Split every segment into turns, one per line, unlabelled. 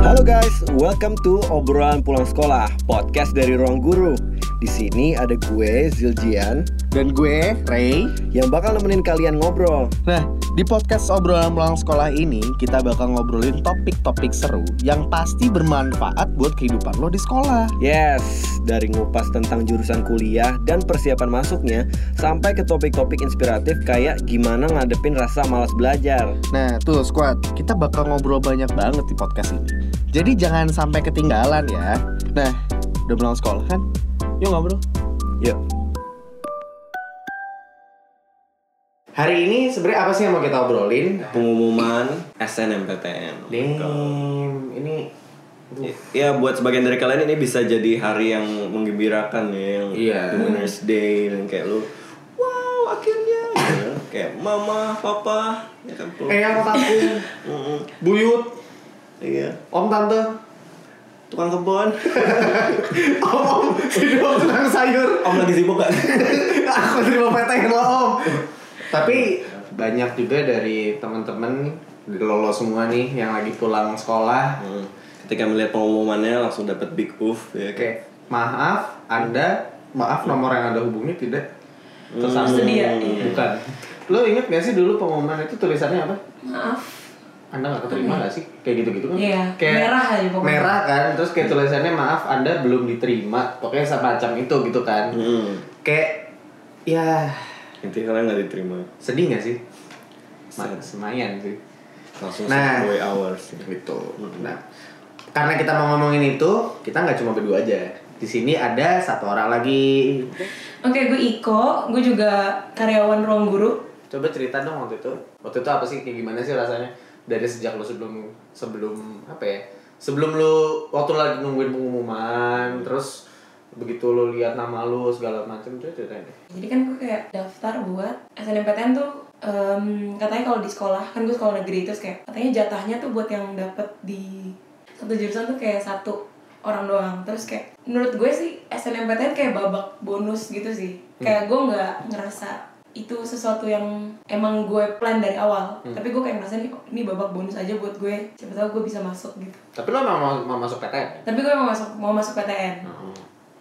Halo guys, welcome to obrolan pulang sekolah podcast dari ruang guru. Di sini ada gue Ziljian
Dan gue, Ray.
yang bakal nemenin kalian ngobrol.
Nah, di podcast obrolan pulang sekolah ini, kita bakal ngobrolin topik-topik seru yang pasti bermanfaat buat kehidupan lo di sekolah.
Yes, dari ngupas tentang jurusan kuliah dan persiapan masuknya sampai ke topik-topik inspiratif kayak gimana ngadepin rasa malas belajar.
Nah, tuh squad, kita bakal ngobrol banyak banget di podcast ini. Jadi jangan sampai ketinggalan ya. Nah, udah pulang sekolah kan? Yuk ngobrol.
Yuk.
Hari ini sebenarnya apa sih yang mau kita obrolin?
Pengumuman SNMPTN.
Damn, ini
Ya buat sebagian dari kalian ini bisa jadi hari yang menggembirakan ya, yang
Iya.
the Winners Day dan kayak lu, wow akhirnya, gitu. kayak mama, papa, ya kan peluk.
Eyang Tatung,
Mm-mm.
Buyut,
Iya,
Om Tante,
tukang kebun.
Om, om, ini om tukang sayur.
Om lagi sibuk kan?
Aku terima PTN lo om. Tapi banyak juga dari teman-teman lolos semua nih yang lagi pulang sekolah.
Mm. Ketika melihat pengumumannya langsung dapat big oof ya kayak.
Oke, maaf Anda, maaf nomor yang Anda hubungi tidak ya.
Tersedia,
Mm.
iya.
Bukan. Lo inget gak sih dulu pengumuman itu tulisannya apa?
Maaf.
Anda gak keterima gak sih? Kayak gitu-gitu kan?
Hmm. Iya,
Kayak
merah aja pokoknya.
Merah kan, terus kayak tulisannya maaf Anda belum diterima. Pokoknya semacam itu gitu kan.
Mm.
Kayak, ya
Intinya kalian nggak diterima.
sedih gak sih? Ma-
Sad.
Semayan sih.
Langsung
Nah.
way hours.
gitu. Nah, karena kita mau ngomongin itu, kita nggak cuma berdua aja. Di sini ada satu orang lagi.
Oke, gue Iko, gue juga karyawan ruang guru.
Coba cerita dong waktu itu. Waktu itu apa sih? Kayak gimana sih rasanya? Dari sejak lu sebelum sebelum apa ya? Sebelum lu waktu lagi nungguin pengumuman, terus begitu lu lihat nama lu segala macam itu ceritain deh.
Jadi kan gue kayak daftar buat SNMPTN tuh em, katanya kalau di sekolah kan gue sekolah negeri terus kayak katanya jatahnya tuh buat yang dapet di satu jurusan tuh kayak satu orang doang terus kayak menurut gue sih SNMPTN kayak babak bonus gitu sih kayak gue nggak ngerasa itu sesuatu yang emang gue plan dari awal tapi gue kayak ngerasa nih ini babak bonus aja buat gue siapa tahu gue bisa masuk gitu
Tapi lu emang mau, mau masuk PTN?
tapi gue mau masuk mau masuk PTN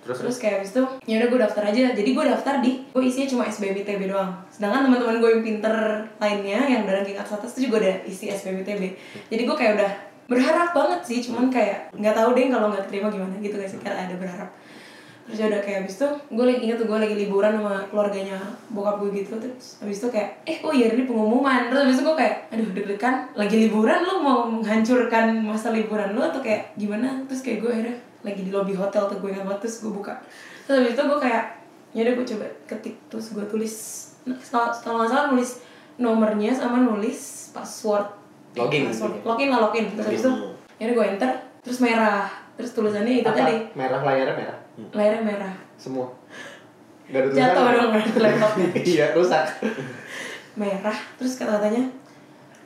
Terus, terus
terus kayak abis itu ya udah gue daftar aja jadi gue daftar di gue isinya cuma SBMITB doang sedangkan teman-teman gue yang pinter lainnya yang udah ranking atas atas itu juga ada isi SBMITB jadi gue kayak udah berharap banget sih cuman kayak nggak tahu deh kalau nggak terima gimana gitu guys kayak ada berharap terus ya udah kayak abis itu gue lagi inget tuh gue lagi liburan sama keluarganya bokap gue gitu terus abis itu kayak eh oh iya ini pengumuman terus abis itu gue kayak aduh deg-degan lagi liburan lu mau menghancurkan masa liburan lu atau kayak gimana terus kayak gue akhirnya lagi di lobby hotel tuh gue ingat banget terus gue buka terus abis itu gue kayak ya udah gue coba ketik terus gue tulis nah, kalau kalau nggak salah nulis nomornya sama nulis password
Login.
Password. login lah login terus abis itu ya udah gue enter terus merah terus tulisannya itu
apa?
tadi
Merah layarnya merah.
layarnya merah
Semua. Gak ada tulisan.
jatuh dong laptopnya
iya, rusak.
merah terus kata-katanya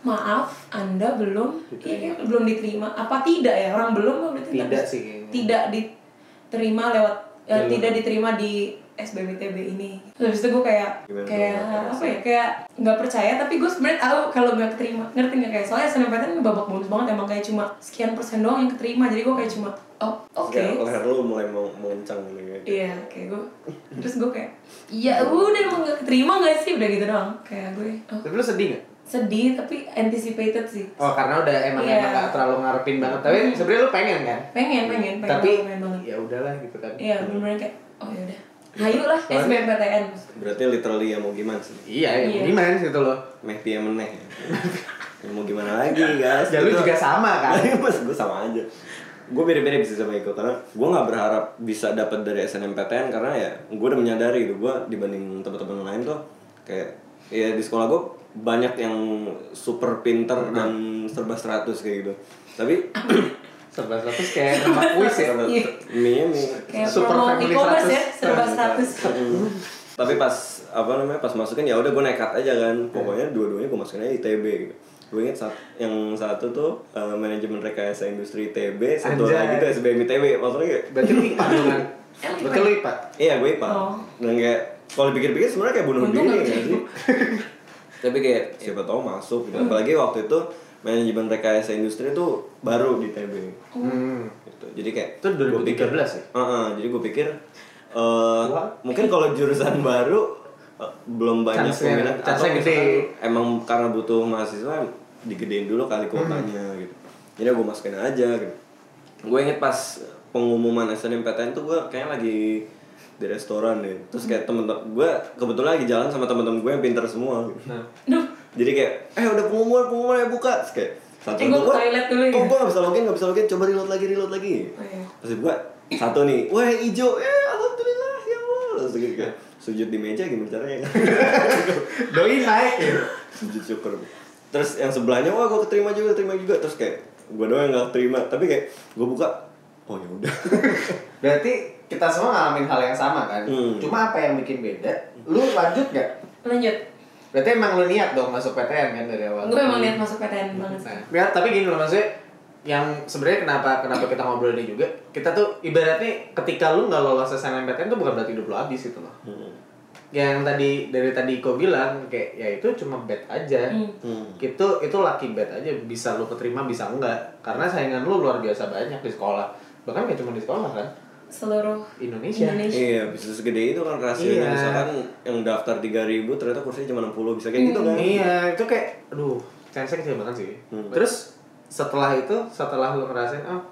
maaf anda belum iya, kayak belum diterima apa tidak ya orang belum apa berarti
Tidak
ntar-
sih kayaknya.
tidak diterima lewat eh,
Belum.
tidak diterima di SBMTB ini terus itu gue kayak
Gimana
kayak
tuh, nggak
apa ya kayak nggak percaya tapi gue sebenarnya tahu kalau nggak keterima ngerti nggak kayak soalnya SNMPTN kan babak bonus banget emang kayak cuma sekian persen doang yang keterima jadi gue kayak cuma oh oke
Kayak leher lu mulai mau mengencang gitu.
Iya, kayak gue Terus gue kayak Ya udah emang gak keterima gak sih? Udah gitu doang Kayak gue oh,
Tapi lu sedih gak?
Sedih tapi anticipated sih
Oh karena udah emang
Iya. Hmm.
emang gak terlalu ngarepin banget Tapi sebenarnya lu pengen kan?
Pengen, pengen, pengen
Tapi
pengen banget
ya udahlah gitu kan
Iya, bener-bener kayak Oh yaudah Hayu lah SBMPTN
Berarti literally ya mau gimana sih?
Iya ya
Iya.
gimana sih itu loh
Meh pia meneh. ya mau gimana lagi guys?
Ya lu
Gitu.
juga sama kan?
mas gue sama aja gue beda-beda bisa sama Iko karena gue nggak berharap bisa dapat dari SNMPTN karena ya gue udah menyadari gitu gue dibanding teman-teman lain tuh kayak ya di sekolah gue banyak yang super pinter
Nah.
dan serba 100 kayak gitu tapi
Serba seratus kayak nama kuis ya
Iya.
mie mie
Kayak
Super
promo
Family
e-commerce
100.
ya Serba 100
Mm. tapi pas apa namanya pas masukin ya udah gue nekat aja kan pokoknya dua-duanya gue masukin aja ITB gitu gue inget saat, yang satu tuh eh, manajemen rekayasa industri ITB satu
Anjay.
lagi tuh SBM ITB maksudnya kayak
Berarti lu IPA dong kan?
Iya. Emang
Berarti lu IPA?
Iya gue IPA
Oh.
Dan kayak kalau dipikir-pikir sebenarnya kayak bunuh
Untung
diri
gak
gak sih? Tapi kayak siapa tahu masuk gitu. Apalagi waktu itu manajemen rekayasa industri itu baru di TB
Hmm.
gitu. jadi kayak
Itu 2013 ya?
Heeh, jadi gue pikir eh,
Wah.
mungkin kalau jurusan baru eh, belum banyak
Chance-nya-
peminat atau
chance-nya gede.
misalkan emang karena butuh mahasiswa digedein dulu kali
Hmm.
kuotanya gitu. Jadi gue masukin aja gitu. Gue inget pas pengumuman SNMPTN tuh gue kayaknya lagi di restoran deh. Terus kayak temen-temen gue kebetulan lagi jalan sama temen-temen gue yang pinter semua. gitu.
Nah.
Duh,
Jadi kayak eh udah pengumuman pengumuman ya buka. Terus kayak satu
Eh, gua
dua,
ke toilet dulu ya.
"Kok gua nggak bisa login nggak bisa login coba reload lagi reload lagi.
Oh, iya.
Maksud gua satu nih, wah hijau, eh alhamdulillah ya Allah. Terus gitu kan, sujud di meja gimana caranya kan?
Doi naik ya.
sujud syukur. Terus yang sebelahnya wah gua keterima juga, terima juga. Terus kayak gua doang yang gak terima, tapi kayak gua buka, oh ya udah.
Berarti kita semua ngalamin hal yang sama kan?
Hmm.
Cuma apa yang bikin beda? Lu lanjut gak?
lanjut.
Berarti emang lu niat dong masuk PTN kan dari awal?
Gue emang niat masuk PTN banget sih.
Nah, ya, tapi gini loh maksudnya yang sebenarnya kenapa kenapa kita ngobrol ini juga kita tuh ibaratnya ketika lu nggak lolos SNMPTN tuh bukan berarti hidup lu habis gitu loh yang tadi dari tadi kau bilang kayak ya itu cuma bet aja
Hmm.
Hmm.
itu itu lucky bet aja bisa lu keterima bisa enggak karena saingan lu luar biasa banyak di sekolah bahkan nggak cuma di sekolah kan
Seluruh
Indonesia,
Indonesia.
Iya, bisa segede itu kan rasionya.
Iya.
Misalkan yang daftar 3000 ternyata kursinya cuma 60 bisa kayak gitu kan.
iya itu kayak aduh chance kecil banget sih
Hmm.
terus setelah itu setelah lu ngerasain oh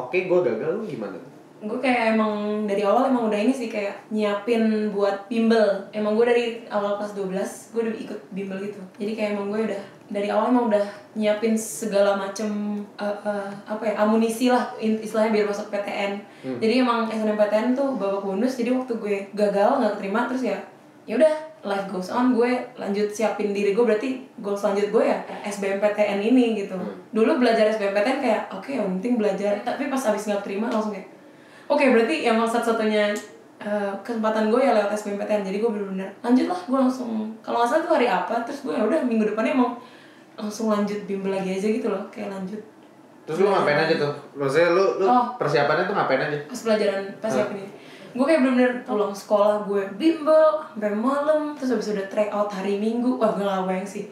oke gua gagal lu gimana
gue kayak emang dari awal emang udah ini sih kayak nyiapin buat bimbel emang gue dari awal kelas 12 gue udah ikut bimbel gitu jadi kayak emang gue udah dari awal emang udah nyiapin segala macem eh, eh, apa ya amunisi lah in- istilahnya biar masuk PTN jadi emang SNMPTN tuh babak bonus jadi waktu gue gagal nggak keterima terus ya ya udah life goes on gue lanjut siapin diri gue berarti goals lanjut gue ya SBMPTN ini gitu dulu belajar SBMPTN kayak oke yang penting belajar tapi pas abis nggak terima langsung kayak oke berarti emang satu-satunya eh, kesempatan gue ya lewat SBMPTN jadi gue bener-bener lanjut lah gue langsung kalau nggak salah tuh hari apa terus gue ya udah minggu depannya emang langsung lanjut bimbel lagi aja gitu loh kayak lanjut
Terus lu ngapain aja tuh? Maksudnya lu, lu
Oh.
persiapannya tuh ngapain aja?
pas pelajaran pas siapin ini gue kayak bener-bener pulang sekolah gue bimbel sampai malam terus habis udah track out hari minggu wah gue gak bayang sih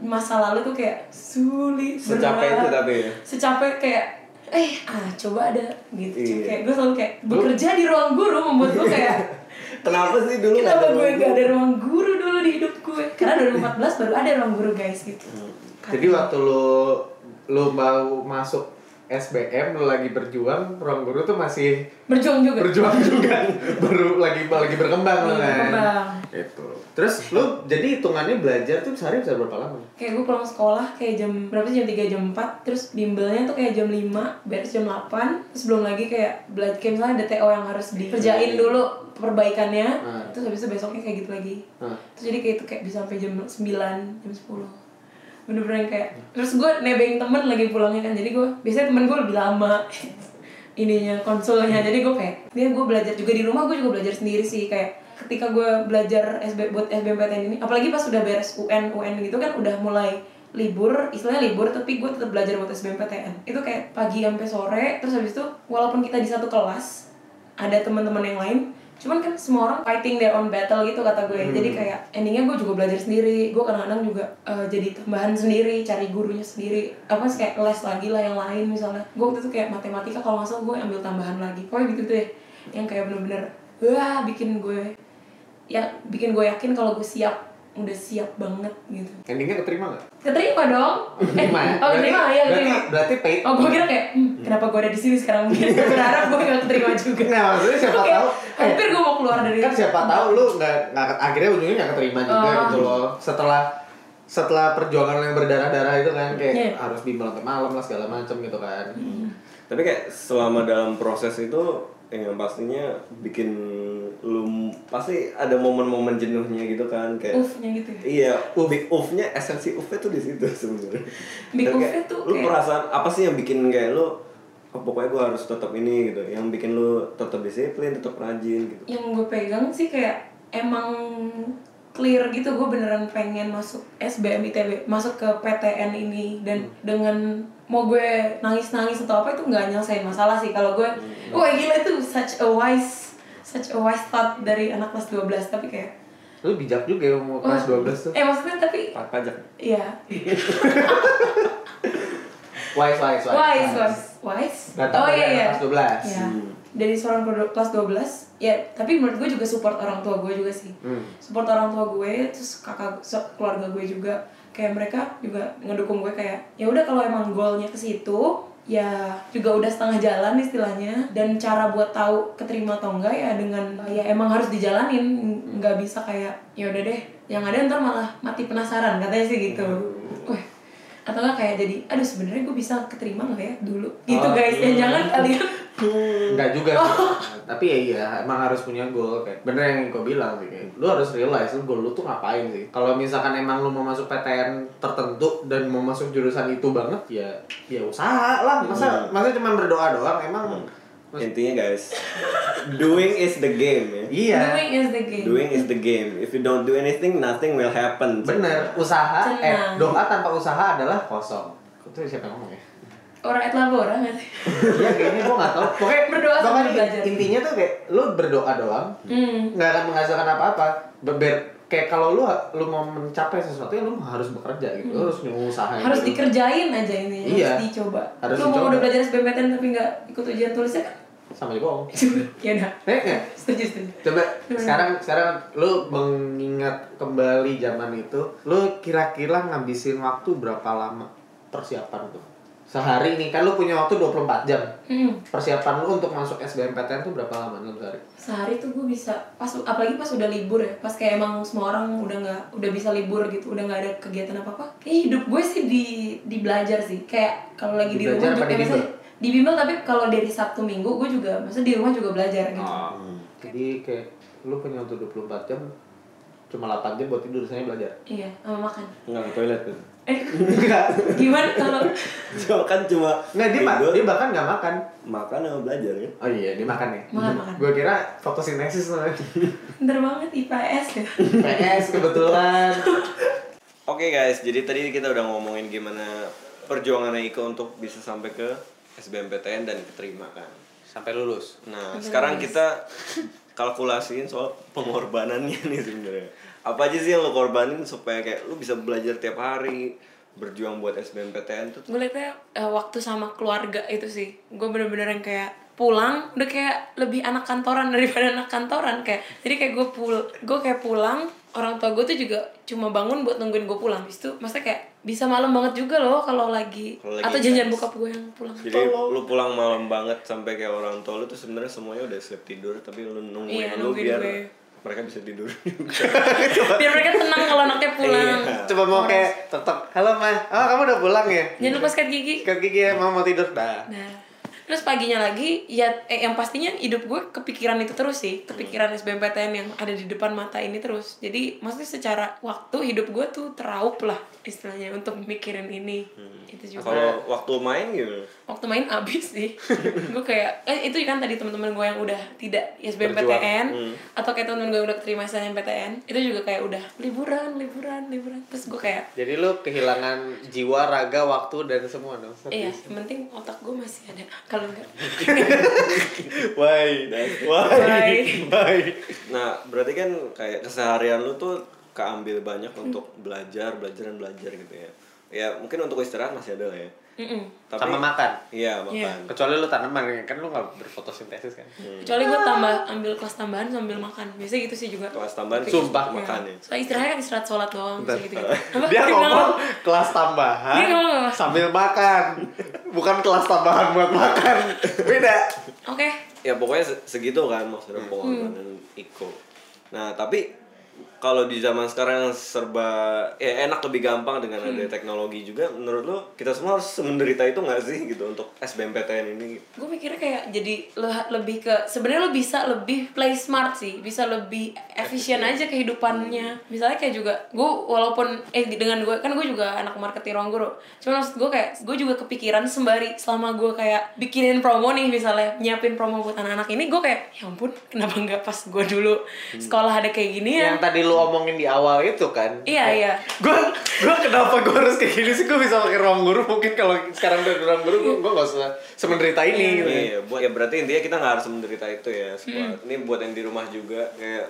masa lalu tuh kayak sulit
Hmm. Secapek
berat.
itu tapi ya.
secapek kayak eh ah coba ada gitu Cuma
Iya.
kayak gue selalu kayak bekerja di ruang guru membuat gue kayak
Kenapa sih dulu nggak
kenapa
ada
gue
ruang
gak ada ruang guru dulu di hidup gue karena 2014 baru ada ruang guru guys gitu
Hmm.
Jadi waktu lu lu mau masuk SBM lu lagi berjuang, ruang guru tuh masih
berjuang juga
berjuang juga. Baru lagi lagi berkembang lu
Iya,
kan.
berkembang.
Itu. Terus lu jadi hitungannya belajar tuh sehari bisa berapa lama?
kayak gue pulang sekolah kayak jam berapa sih jam 3 jam 4 terus bimbelnya tuh kayak jam 5 beres jam 8 terus belum lagi kayak belajar kayak misalnya ada TO yang
Iya,
harus dikerjain dulu perbaikannya
Nah.
Hmm.
terus habis itu besoknya kayak gitu lagi
Hmm.
terus jadi kayak itu kayak bisa sampai jam 9 jam 10 bener-bener yang kayak terus gue nebeng temen lagi pulangnya kan jadi gue biasanya temen gue lebih lama ininya konsolnya jadi gue kayak dia gue belajar juga di rumah gue juga belajar sendiri sih kayak ketika gue belajar SB buat SBMPTN ini apalagi pas udah beres UN UN gitu kan udah mulai libur istilahnya libur tapi gue tetap belajar buat SBMPTN itu kayak pagi sampai sore terus habis itu walaupun kita di satu kelas ada teman-teman yang lain cuman kan semua orang fighting their own battle gitu kata gue jadi kayak endingnya gue juga belajar sendiri gue kadang-kadang juga eh, jadi tambahan sendiri cari gurunya sendiri apa sih kayak les lagi lah yang lain misalnya gue waktu itu kayak matematika kalau nggak salah gue ambil tambahan lagi pokoknya gitu deh yang kayak bener-bener wah bikin gue ya bikin gue yakin kalau gue siap udah siap banget gitu
Endingnya keterima gak?
keterima dong Eh, oh keterima ya
berarti,
keterima
berarti paid.
oh gue kira kayak "Hmm, kenapa gue ada di sini sekarang mungkin gue berharap gue gak keterima juga
Nah, maksudnya siapa
Oke,
tahu eh,
hampir gue mau keluar dari
kan siapa tahu lu nggak nggak akhirnya ujungnya nggak keterima juga
Oh.
gitu loh setelah setelah perjuangan yang berdarah-darah itu kan kayak
Iya.
harus bimbel sampai malam lah segala macam gitu kan
Tapi kayak selama dalam proses itu ya, yang pastinya bikin lu pasti ada momen-momen jenuhnya gitu kan kayak
Ufnya gitu ya.
Iya, big off-nya esensi off-nya tuh di situ sebenarnya.
Big
Dan
off-nya
kayak
tuh
lu
kayak-
perasaan apa sih yang bikin kayak lu oh, pokoknya gue harus tetap ini gitu. Yang bikin lu tetap disiplin, tetap rajin gitu.
yang gue pegang sih kayak emang clear gitu gue beneran pengen masuk SBM ITB masuk ke PTN
Hmm.
ini dan dengan mau gue nangis nangis atau apa itu nggak nyelesain masalah sih kalau gue
Hmm.
wah gila itu such a wise such a wise thought dari anak kelas 12 tapi kayak Eh,
lu
Oh.
bijak juga ya mau kelas
wah,
12 tuh
eh maksudnya tapi
Pa- Pajak.
Iya.
Wise, wise, wise.
Wise, wise, wise.
Datang
oh
dari
iya
anak
iya.
kelas 12.
Iya. Dari seorang kelas 12, ya tapi menurut gue juga support orang tua gue juga sih.
Hmm.
Support orang tua gue, terus kakak se- keluarga gue juga kayak mereka juga ngedukung gue kayak ya udah kalau emang goalnya ke situ ya juga udah setengah jalan istilahnya dan cara buat tahu keterima atau enggak ya dengan ya emang harus dijalanin
Hmm.
nggak bisa kayak ya udah deh yang ada ntar malah mati penasaran katanya sih gitu
Hmm.
Wah, atau nggak kayak jadi aduh sebenarnya gue bisa keterima nggak ya dulu gitu
Oh,
guys ya
iya.
jangan kalian
Enggak juga sih.
Oh.
Tapi ya iya, emang harus punya goal kayak. Bener yang gue bilang sih kayak. Lu harus realize lu goal lu tuh ngapain sih. Kalau misalkan emang lu mau masuk PTN tertentu dan mau masuk jurusan itu banget ya ya usaha lah.
Hmm.
Masa masa cuma berdoa doang emang.
Intinya guys, doing is the game ya.
Iya.
doing is the game
Doing is the game. If you don't do anything, nothing will happen.
Bener, usaha eh
Tenang.
doa tanpa usaha adalah kosong. Itu siapa yang ngomong ya?
orang et labora nggak sih
Iya kayaknya gue gak tau Pokoknya
Berdoa sambil
pokoknya
belajar.
Intinya tuh kayak Lu berdoa doang
hmm.
nggak akan menghasilkan apa-apa beber kayak kalau lu lu mau mencapai sesuatu ya lu harus bekerja gitu lu harus usaha
harus dikerjain aja ini
Iya.
harus dicoba
Harus
lu mau
dicoba.
udah belajar SBMPTN tapi nggak ikut ujian tulisnya kan
sama juga
ya udah
eh, eh.
setuju setuju
coba sekarang sekarang lu mengingat kembali zaman itu lu kira-kira ngabisin waktu berapa lama persiapan tuh sehari nih kan lu punya waktu 24 jam
hmm.
persiapan lu untuk masuk SBMPTN tuh berapa lama dalam sehari
sehari tuh gue bisa pas apalagi pas udah libur ya pas kayak emang semua orang udah nggak udah bisa libur gitu udah nggak ada kegiatan apa apa eh hidup gue sih di di belajar sih kayak kalau lagi
Di
di,
belajar
rumah
apa
juga
di bimbel?
misalnya- di bimbel tapi kalau dari sabtu minggu gue juga maksudnya di rumah juga belajar gitu
Oh. jadi kayak lu punya waktu 24 jam cuma 8 jam buat tidur sisanya belajar
iya sama makan
Nggak ke toilet tuh.
eh
enggak
gimana kalau
Cuma kan cuma
Nggak, dia, ma-
tidur,
dia bahkan nggak makan.
makan sama belajar kan.
Oh iya, dia makan ya?
Makan, makan.
Gue kira fokus sintesis namanya.
bener banget IPS ya
PS kebetulan.
Oke guys, jadi tadi kita udah ngomongin gimana perjuangan Iko untuk bisa sampai ke SBMPTN dan keterima kan.
Sampai lulus.
Nah, sekarang kita kalkulasiin soal pengorbanannya nih sebenarnya. Apa aja sih yang lo korbanin supaya kayak lu bisa belajar tiap hari, berjuang buat SBMPTN tuh
gue liatnya eh, waktu sama keluarga itu sih gue bener-bener yang kayak pulang udah kayak lebih anak kantoran daripada anak kantoran kayak jadi kayak gue pul gue kayak pulang orang tua gue tuh juga cuma bangun buat nungguin gue pulang Habis itu maksudnya kayak bisa malam banget juga loh kalau lagi,
Kalau lagi Iya.
atau janjian bokap gue yang pulang
Jadi lu pulang malam banget sampai kayak orang tua lu tuh sebenarnya semuanya udah siap tidur tapi lu nungguin
Iya,
lu
nungguin
biar
gue. Iya
mereka bisa tidur juga.
biar mereka tenang kalau anaknya
Iya.
pulang
Coba mau kayak tetap. Halo ma, oh kamu udah pulang ya?
jangan lupa sikat gigi
Sikat gigi ya, mau mau tidur dah.
Nah, terus paginya lagi ya eh, yang pastinya hidup gue kepikiran itu terus sih, kepikiran SBMPTN yang ada di depan mata ini terus. Jadi maksudnya secara waktu hidup gue tuh teraup lah istilahnya untuk mikirin ini. Itu juga.
Kalau waktu main gitu.
Waktu main abis sih. gue kayak eh, itu kan tadi teman-teman gue yang udah tidak SBMPTN atau kayak teman-teman gue yang udah terima SNMPTN, itu juga kayak udah liburan, liburan, liburan. Terus gue kayak
Jadi lu kehilangan jiwa, raga, waktu, dan semua dong.
Iya, yang penting otak gue masih ada. Kalau enggak,
Why?
Why?
Why?
Nah, berarti kan kayak keseharian lu tuh keambil banyak untuk belajar, belajar dan belajar gitu ya. Ya, mungkin untuk istirahat masih ada lah ya.
Mm-mm.
Tapi
Sama makan.
Iya, makan.
Iya.
Kecuali lu tanaman ya, kan lu nggak berfotosintesis kan?
kecuali gue tambah ambil kelas tambahan sambil makan biasanya gitu sih juga
Kelas tambahan
Sumpah.
untuk makan ya.
soal istirahat kan istirahat sholat doang
Bentar.
gitu gitu apa
Dia
bilang
ngomong
apa?
kelas tambahan
Dia ngomong apa?
sambil makan. Bukan kelas tambahan buat makan. Beda.
oke
Ya pokoknya se- segitu kan
Hmm.
maksudnya pengorbanan Iko. Nah, tapi kalau di zaman sekarang yang serba ya enak lebih gampang dengan ada teknologi juga menurut lo kita semua harus menderita itu nggak sih gitu untuk SBMPTN ini
gue mikirnya kayak jadi le- lebih ke sebenarnya lo bisa lebih play smart sih bisa lebih efisien aja kehidupannya misalnya kayak juga gue walaupun eh di- dengan gue kan gue juga anak marketing ruang guru cuman maksud gue kayak gue juga kepikiran sembari selama gue kayak bikinin promo nih misalnya nyiapin promo buat anak-anak ini gue kayak ya ampun kenapa nggak pas gue dulu sekolah ada kayak gini ya
Yang tadi lu omongin di awal itu kan.
iya iya
Gue gua kenapa gue harus kayak gini sih? Gue bisa pakai ruang guru mungkin kalau sekarang udah di ruang guru gue gua gak usah semenderita ini gitu.
Iya, buat ya berarti intinya kita nggak harus menderita itu ya. sekolah. Ini buat yang di rumah juga kayak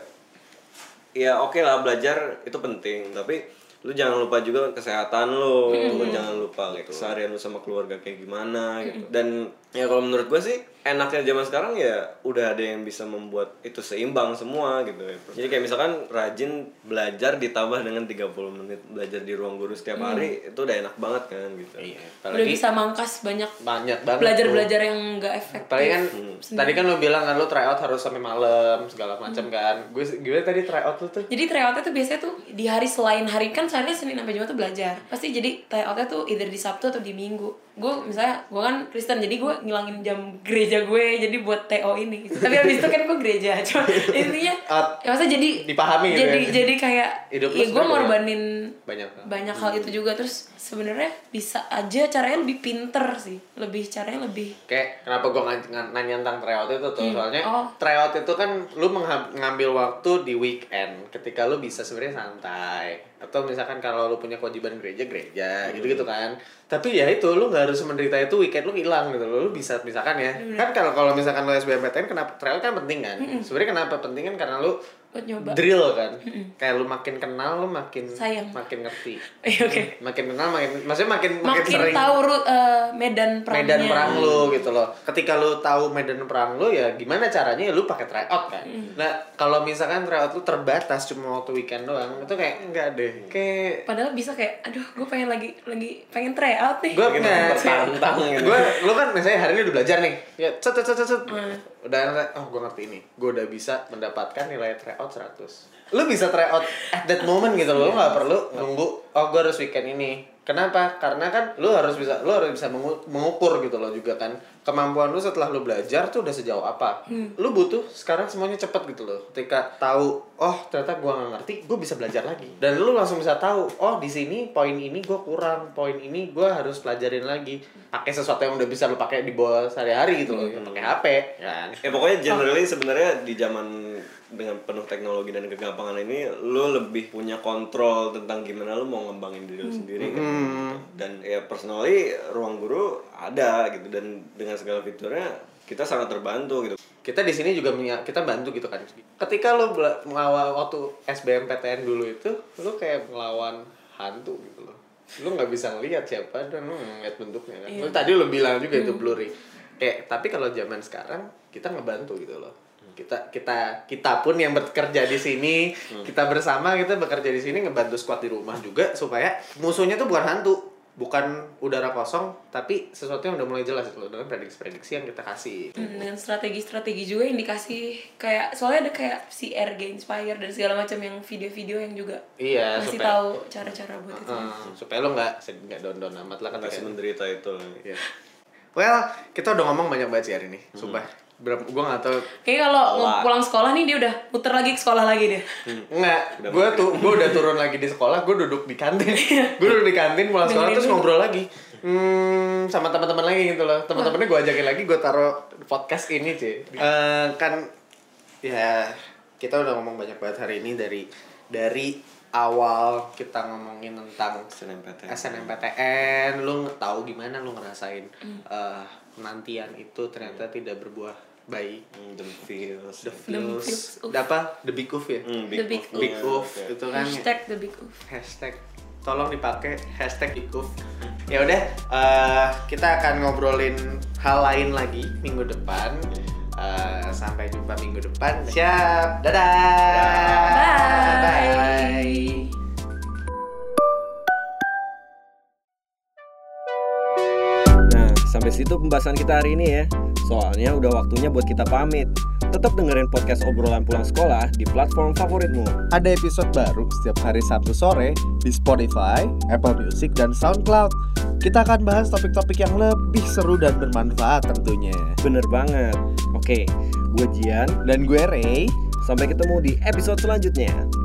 ya oke lah belajar itu penting, tapi lu jangan lupa juga kesehatan lu, lu jangan lupa kayak keseharian lu sama keluarga kayak gimana gitu. Dan ya kalau menurut gue sih enaknya zaman sekarang ya udah ada yang bisa membuat itu seimbang semua gitu. ya. Jadi kayak misalkan rajin belajar ditambah dengan 30 menit belajar di ruang guru setiap hari itu udah enak banget kan gitu.
Iya.
udah
Apalagi
bisa mangkas banyak
banyak banget.
belajar-belajar yang nggak efektif.
Apalagi kan tadi kan lo bilang kan lo tryout harus sampai malam segala macam kan. Gue gimana tadi tryout lo tuh?
Jadi tryoutnya tuh biasanya tuh di hari selain hari kan seharinya Senin sampai Jumat tuh belajar. Pasti jadi tryoutnya tuh either di Sabtu atau di Minggu. Gue misalnya gue kan Kristen jadi gue ngilangin jam gereja gue jadi buat TO ini. Tapi habis itu kan gue gereja. Cuma intinya
Out.
ya maksudnya jadi
Dipahami gitu
jadi
ya.
jadi kayak
Hidup lu Hmm.
ya gue
sebenarnya
ngorbanin
Banyak.
banyak hal itu juga terus sebenarnya bisa aja caranya lebih pinter sih lebih caranya lebih
Kayak kenapa gue nanya tentang tryout itu tuh soalnya
Oh.
tryout itu kan lu mengha- ngambil waktu di weekend ketika lu bisa sebenarnya santai atau misalkan kalau lu punya kewajiban gereja
Hmm.
gereja gitu gitu kan tapi ya itu lu nggak harus menderita itu weekend lu hilang gitu lu bisa misalkan ya
Hmm.
kan kalau kalau misalkan lu SBMPTN kenapa tryout kan penting kan sebenarnya kenapa penting kan karena lu
buat Hmm. nyoba. Hmm.
drill kan kayak lu makin kenal lu makin
Sayang.
makin ngerti
Iya, Oke.
makin kenal makin maksudnya makin makin,
Makin
sering
tahu ru- eh, medan perangnya.
medan perang lu gitu loh. Ketika lu tahu medan perang lu ya gimana caranya ya lu pakai tryout kan. Nah, kalau misalkan tryout lu terbatas cuma waktu weekend doang, itu kayak enggak deh. Kayak
Padahal bisa kayak, aduh gue pengen lagi lagi pengen tryout nih.
gue
Makin
nggak
tertantang gitu.
gue lu kan misalnya hari ini udah belajar nih ya cet cet cet cet udah oh gue ngerti ini gue udah bisa mendapatkan nilai tryout 100 lu bisa tryout at that moment gitu loh lu nggak perlu nunggu oh gue harus weekend ini Kenapa? Karena kan lu harus bisa lu harus bisa mengu- mengukur gitu loh juga kan kemampuan lu setelah lu belajar tuh udah sejauh apa. Lu butuh sekarang semuanya cepet gitu loh. Ketika tahu oh ternyata gua nggak ngerti, gua bisa belajar lagi. Dan lu langsung bisa tahu oh di sini poin ini gua kurang, poin ini gua harus pelajarin lagi. Pakai sesuatu yang udah bisa lu pakai di bawah sehari-hari gitu loh. Pakai HP kan.
Ya pokoknya generally sebenarnya di zaman dengan penuh teknologi dan kegampangan ini lu lebih punya kontrol tentang gimana lu mau ngembangin diri lu sendiri kan
Hmm.
gitu. dan ya personally ruang guru ada gitu dan dengan segala fiturnya kita sangat terbantu gitu
kita di sini juga menya- kita bantu gitu kan ketika lo bela- melawan waktu SBMPTN dulu itu lo kayak melawan hantu gitu loh lo nggak bisa ngelihat siapa dan lo ngeliat bentuknya kan Lo tadi lo bilang juga itu blurry kayak tapi kalau zaman sekarang kita ngebantu gitu loh kita kita kita pun yang bekerja di sini kita bersama kita bekerja di sini ngebantu squad di rumah juga supaya musuhnya tuh bukan hantu bukan udara kosong tapi sesuatu yang udah mulai jelas gitu loh dengan prediksi-prediksi yang kita kasih
Hmm, dengan strategi-strategi juga yang dikasih kayak soalnya ada kayak si RG Inspire dan segala macam yang video-video yang juga
Iya,
ngasih
supaya-
tahu cara-cara buat itu.
Hmm, supaya lo nggak sed- nggak down down amat lah kan
masih menderita itu
Iya. Hmm. Well, kita udah ngomong banyak banget sih hari ini. Sumpah. Berapa gua nggak tahu.
Kayaknya kalau mau
Alah.
pulang sekolah nih dia udah muter lagi ke sekolah lagi deh.
Nggak, gua tuh gua Hmm. udah turun lagi di sekolah, gua duduk di kantin.
Iya.
gua duduk di kantin pulang sekolah terus ngobrol lagi. Hmm, sama teman-teman lagi gitu loh. Teman-temannya gua ajakin lagi, gua taruh podcast ini, sih kan ya kita udah ngomong banyak banget hari ini dari dari awal kita ngomongin tentang
SNMPTN.
Iya. SNMPTN lu tahu gimana lu ngerasain eh, penantian itu ternyata tidak berbuah baik
Hmm, the feels
the
feels,
feels
oof.
apa the big oof ya
Hmm,
The big
move-nya,
big oof
oke.
itu kan
Hashtag the big oof.
hashtag tolong dipakai hashtag big oof ya udah eh, kita akan ngobrolin hal lain lagi minggu depan Eh, sampai jumpa minggu depan siap dadah
Bye.
Nah, sampai situ pembahasan kita hari ini ya. Soalnya udah waktunya buat kita pamit. Tetap dengerin podcast obrolan pulang sekolah di platform favoritmu.
Ada episode baru setiap hari Sabtu sore di Spotify, Apple Music, dan SoundCloud. Kita akan bahas topik-topik yang lebih seru dan bermanfaat tentunya.
Bener banget. Oke, gue Jian.
Dan gue Ray,
Sampai ketemu di episode selanjutnya.